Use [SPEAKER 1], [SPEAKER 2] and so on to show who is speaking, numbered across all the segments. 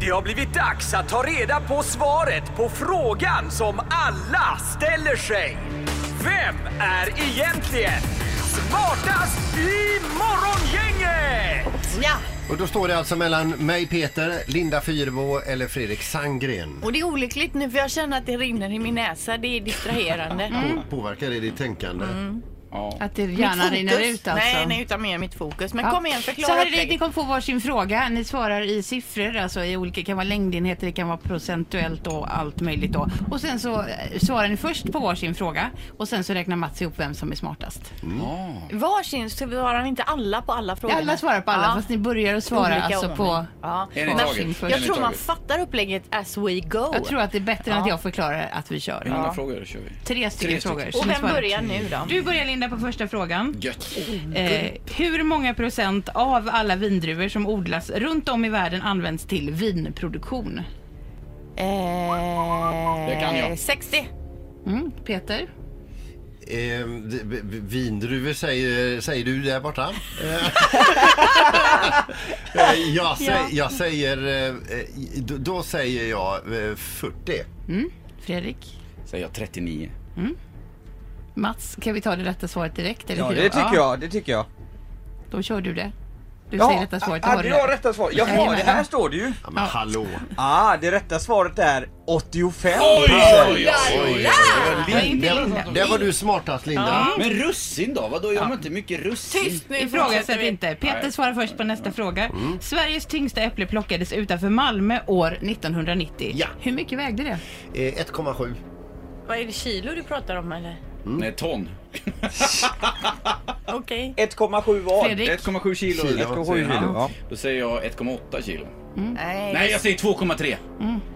[SPEAKER 1] Det har blivit dags att ta reda på svaret på frågan som alla ställer sig. Vem är egentligen smartast i Morgongänget?
[SPEAKER 2] Ja,
[SPEAKER 3] Och då står det alltså mellan mig Peter, Linda Fyrebo eller Fredrik Sandgren.
[SPEAKER 2] och det är olyckligt nu för jag känner att det rinner i min näsa. Det är distraherande.
[SPEAKER 3] På- Påverkar det ditt tänkande?
[SPEAKER 4] Att det gärna rinner ut alltså.
[SPEAKER 2] Nej, nej, utan mer mitt fokus. Men
[SPEAKER 4] Ja.
[SPEAKER 2] kom igen, förklara
[SPEAKER 4] Så här är det,
[SPEAKER 2] upplägget.
[SPEAKER 4] ni kommer få varsin fråga. Ni svarar i siffror, alltså i olika, det kan vara längdenheter, det kan vara procentuellt och allt möjligt då. Och sen så eh, svarar ni först på varsin fråga och sen så räknar Mats ihop vem som är smartast.
[SPEAKER 2] Varsin så svarar ni inte alla på alla frågor.
[SPEAKER 4] Alla svarar på alla,
[SPEAKER 2] Ja.
[SPEAKER 4] fast ni börjar att svara
[SPEAKER 2] Olika
[SPEAKER 4] alltså på...
[SPEAKER 2] ordning. ja.
[SPEAKER 5] En i
[SPEAKER 2] Men
[SPEAKER 5] taget.
[SPEAKER 4] En i
[SPEAKER 2] Jag tror man
[SPEAKER 5] taget.
[SPEAKER 2] fattar upplägget as we go.
[SPEAKER 4] Jag tror att det är bättre än att jag förklarar att vi kör.
[SPEAKER 5] Hur många frågor kör vi?
[SPEAKER 4] Tre stycken
[SPEAKER 5] Tre stycken.
[SPEAKER 4] frågor. så
[SPEAKER 2] Och
[SPEAKER 4] ni
[SPEAKER 2] vem
[SPEAKER 4] svarar.
[SPEAKER 2] börjar nu då?
[SPEAKER 4] Du börjar Linda på första frågan.
[SPEAKER 5] Gött.
[SPEAKER 2] Oh,
[SPEAKER 4] Eh, hur många procent av alla vindruvor som odlas runt om i världen används till vinproduktion?
[SPEAKER 2] Eh,
[SPEAKER 5] Det kan jag.
[SPEAKER 2] 60.
[SPEAKER 4] Mm, Peter?
[SPEAKER 3] Ehm, d- v- v- vindruvor säger, säger du där borta. Eh, jag, sä,
[SPEAKER 4] Ja.
[SPEAKER 3] jag säger, eh, eh, då, då säger jag eh, 40.
[SPEAKER 4] Fredrik?
[SPEAKER 5] Säger jag 39.
[SPEAKER 4] Mats, kan vi ta det rätta svaret direkt? Eller
[SPEAKER 6] Ja,
[SPEAKER 4] hur?
[SPEAKER 6] det tycker jag. Det tycker jag.
[SPEAKER 4] Då kör du det. Du
[SPEAKER 6] Ja,
[SPEAKER 4] säger rätta svaret. då har
[SPEAKER 6] Hade
[SPEAKER 4] du
[SPEAKER 6] jag
[SPEAKER 4] det.
[SPEAKER 6] rätta svaret? Jaha, det här står det ju.
[SPEAKER 3] Ja, men hallå.
[SPEAKER 6] Ah, det rätta svaret är 85
[SPEAKER 3] Oj,
[SPEAKER 4] Ja, inte Linda.
[SPEAKER 6] Mm.
[SPEAKER 3] Linda. Där var du smartast Linda.
[SPEAKER 5] Men russin då? Vadå, gör man inte mycket russin?
[SPEAKER 2] Tyst nu fortsätter
[SPEAKER 4] Ifrågasätt
[SPEAKER 2] vi.
[SPEAKER 4] inte. Peter svarar först på nästa fråga.
[SPEAKER 6] Mm.
[SPEAKER 4] Sveriges tyngsta äpple plockades utanför Malmö år 1990.
[SPEAKER 3] Ja.
[SPEAKER 4] Hur mycket vägde det?
[SPEAKER 3] Eh, 1,7.
[SPEAKER 2] Vad är det kilo du pratar om eller?
[SPEAKER 5] Mm. Nej, ton.
[SPEAKER 2] Okej.
[SPEAKER 6] 1,7 var.
[SPEAKER 4] Fredrik?
[SPEAKER 5] 1,7 kilo.
[SPEAKER 3] Kilo.
[SPEAKER 5] Ett-
[SPEAKER 6] 1,7 kilo. Ja.
[SPEAKER 5] Då säger jag 1,8 kilo.
[SPEAKER 2] Nej.
[SPEAKER 5] Nej, jag säger 2,3.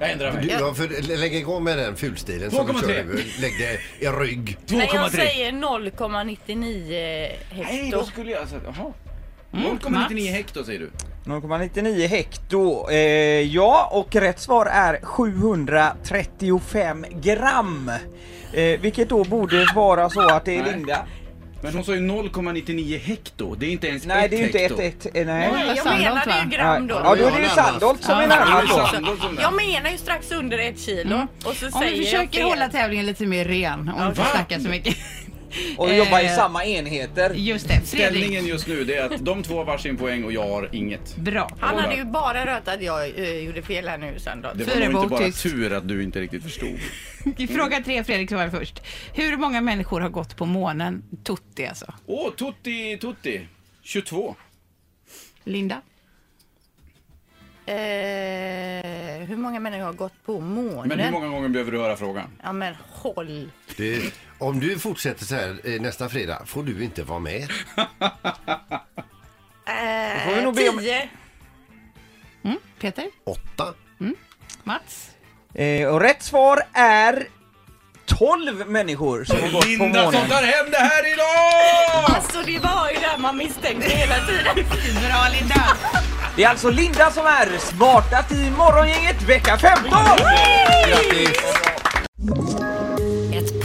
[SPEAKER 5] Jag ändrar
[SPEAKER 3] Du,
[SPEAKER 5] mig.
[SPEAKER 3] ja, för, lä- lägg igång med den fulstilen som du
[SPEAKER 5] 2,3.
[SPEAKER 3] kör. nu. Lägg dig i rygg.
[SPEAKER 2] Nej, jag
[SPEAKER 5] 2,3.
[SPEAKER 2] säger 0,99
[SPEAKER 5] Nej, då
[SPEAKER 2] hekto.
[SPEAKER 5] skulle jag... Alltså, jaha. 0,99 hekto säger du.
[SPEAKER 6] 0,99 hekto. Eh, ja, och rätt svar är 735 gram. Eh, vilket då borde vara så att det är
[SPEAKER 5] Nej.
[SPEAKER 6] Linda.
[SPEAKER 5] Men hon sa ju 0,99 hekto. Det är inte ens
[SPEAKER 6] Nej,
[SPEAKER 5] ett
[SPEAKER 6] det är ju inte
[SPEAKER 5] hekto.
[SPEAKER 6] 1, 1, eh, nej.
[SPEAKER 2] Nej, jag
[SPEAKER 4] Sandholt,
[SPEAKER 2] menade
[SPEAKER 4] va?
[SPEAKER 2] ju gram då.
[SPEAKER 6] Ja, då är det ju Sandholt som är
[SPEAKER 4] Ja,
[SPEAKER 6] närmast då.
[SPEAKER 5] Sandholt som där.
[SPEAKER 2] Jag menar ju strax under ett kilo.
[SPEAKER 4] Mm.
[SPEAKER 2] Och så
[SPEAKER 4] Om
[SPEAKER 2] säger
[SPEAKER 4] vi försöker
[SPEAKER 2] jag fel.
[SPEAKER 4] hålla tävlingen lite mer ren och inte
[SPEAKER 5] Va?
[SPEAKER 4] snacka så mycket.
[SPEAKER 6] Och jobbar i
[SPEAKER 4] Eh,
[SPEAKER 6] samma enheter.
[SPEAKER 4] Just det. Fredrik.
[SPEAKER 5] Ställningen just nu det är att de två har varsin poäng och jag har inget.
[SPEAKER 4] Bra.
[SPEAKER 2] Han hade ju bara rört att jag eh, gjorde fel här nu sen då.
[SPEAKER 5] Det
[SPEAKER 4] Så
[SPEAKER 5] var
[SPEAKER 4] är det
[SPEAKER 5] nog inte bara
[SPEAKER 4] boktyst.
[SPEAKER 5] tur att du inte riktigt förstod.
[SPEAKER 4] Fråga tre, Fredrik svarar först. Hur många människor har gått på månen? Tutti alltså.
[SPEAKER 5] Åh, Tutti, Tutti. 22.
[SPEAKER 4] Linda?
[SPEAKER 2] Eh, hur många människor har gått på månen?
[SPEAKER 5] Men hur många gånger behöver du höra frågan?
[SPEAKER 2] Ja men håll.
[SPEAKER 3] Det, Eh, om du fortsätter så här eh, nästa fredag får du inte vara med.
[SPEAKER 2] Eh,
[SPEAKER 6] får vi nog be om-
[SPEAKER 2] tio.
[SPEAKER 4] Mm? Peter?
[SPEAKER 3] Åtta.
[SPEAKER 4] Mats?
[SPEAKER 6] Eh, och rätt svar är 12 människor som har gått på
[SPEAKER 5] Linda som
[SPEAKER 6] månen.
[SPEAKER 5] tar hem det här idag!
[SPEAKER 2] Alltså det var ju det man misstänkte hela tiden.
[SPEAKER 4] Bra Linda!
[SPEAKER 6] Det är alltså Linda som är smartast i morgongänget vecka 15!
[SPEAKER 3] Grattis!
[SPEAKER 7] Ett